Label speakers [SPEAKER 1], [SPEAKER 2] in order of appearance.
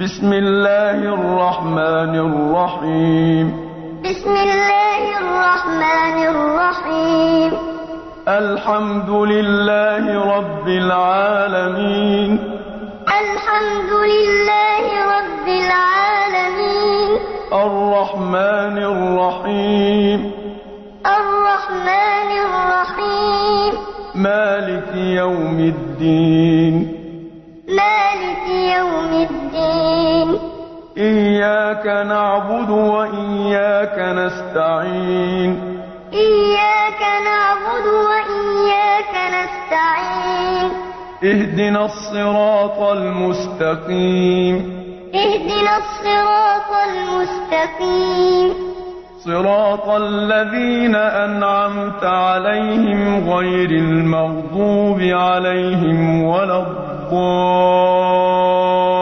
[SPEAKER 1] بسم الله الرحمن الرحيم
[SPEAKER 2] بسم الله الرحمن الرحيم
[SPEAKER 1] الحمد لله رب العالمين
[SPEAKER 2] الحمد لله رب العالمين
[SPEAKER 1] الرحمن الرحيم
[SPEAKER 2] الرحمن الرحيم
[SPEAKER 1] مالك يوم الدين
[SPEAKER 2] مالك يوم الدين
[SPEAKER 1] إياك نعبد وإياك نستعين
[SPEAKER 2] إياك نعبد وإياك نستعين
[SPEAKER 1] اهدنا الصراط المستقيم
[SPEAKER 2] اهدنا الصراط المستقيم
[SPEAKER 1] صراط الذين أنعمت عليهم غير المغضوب عليهم ولا الضالين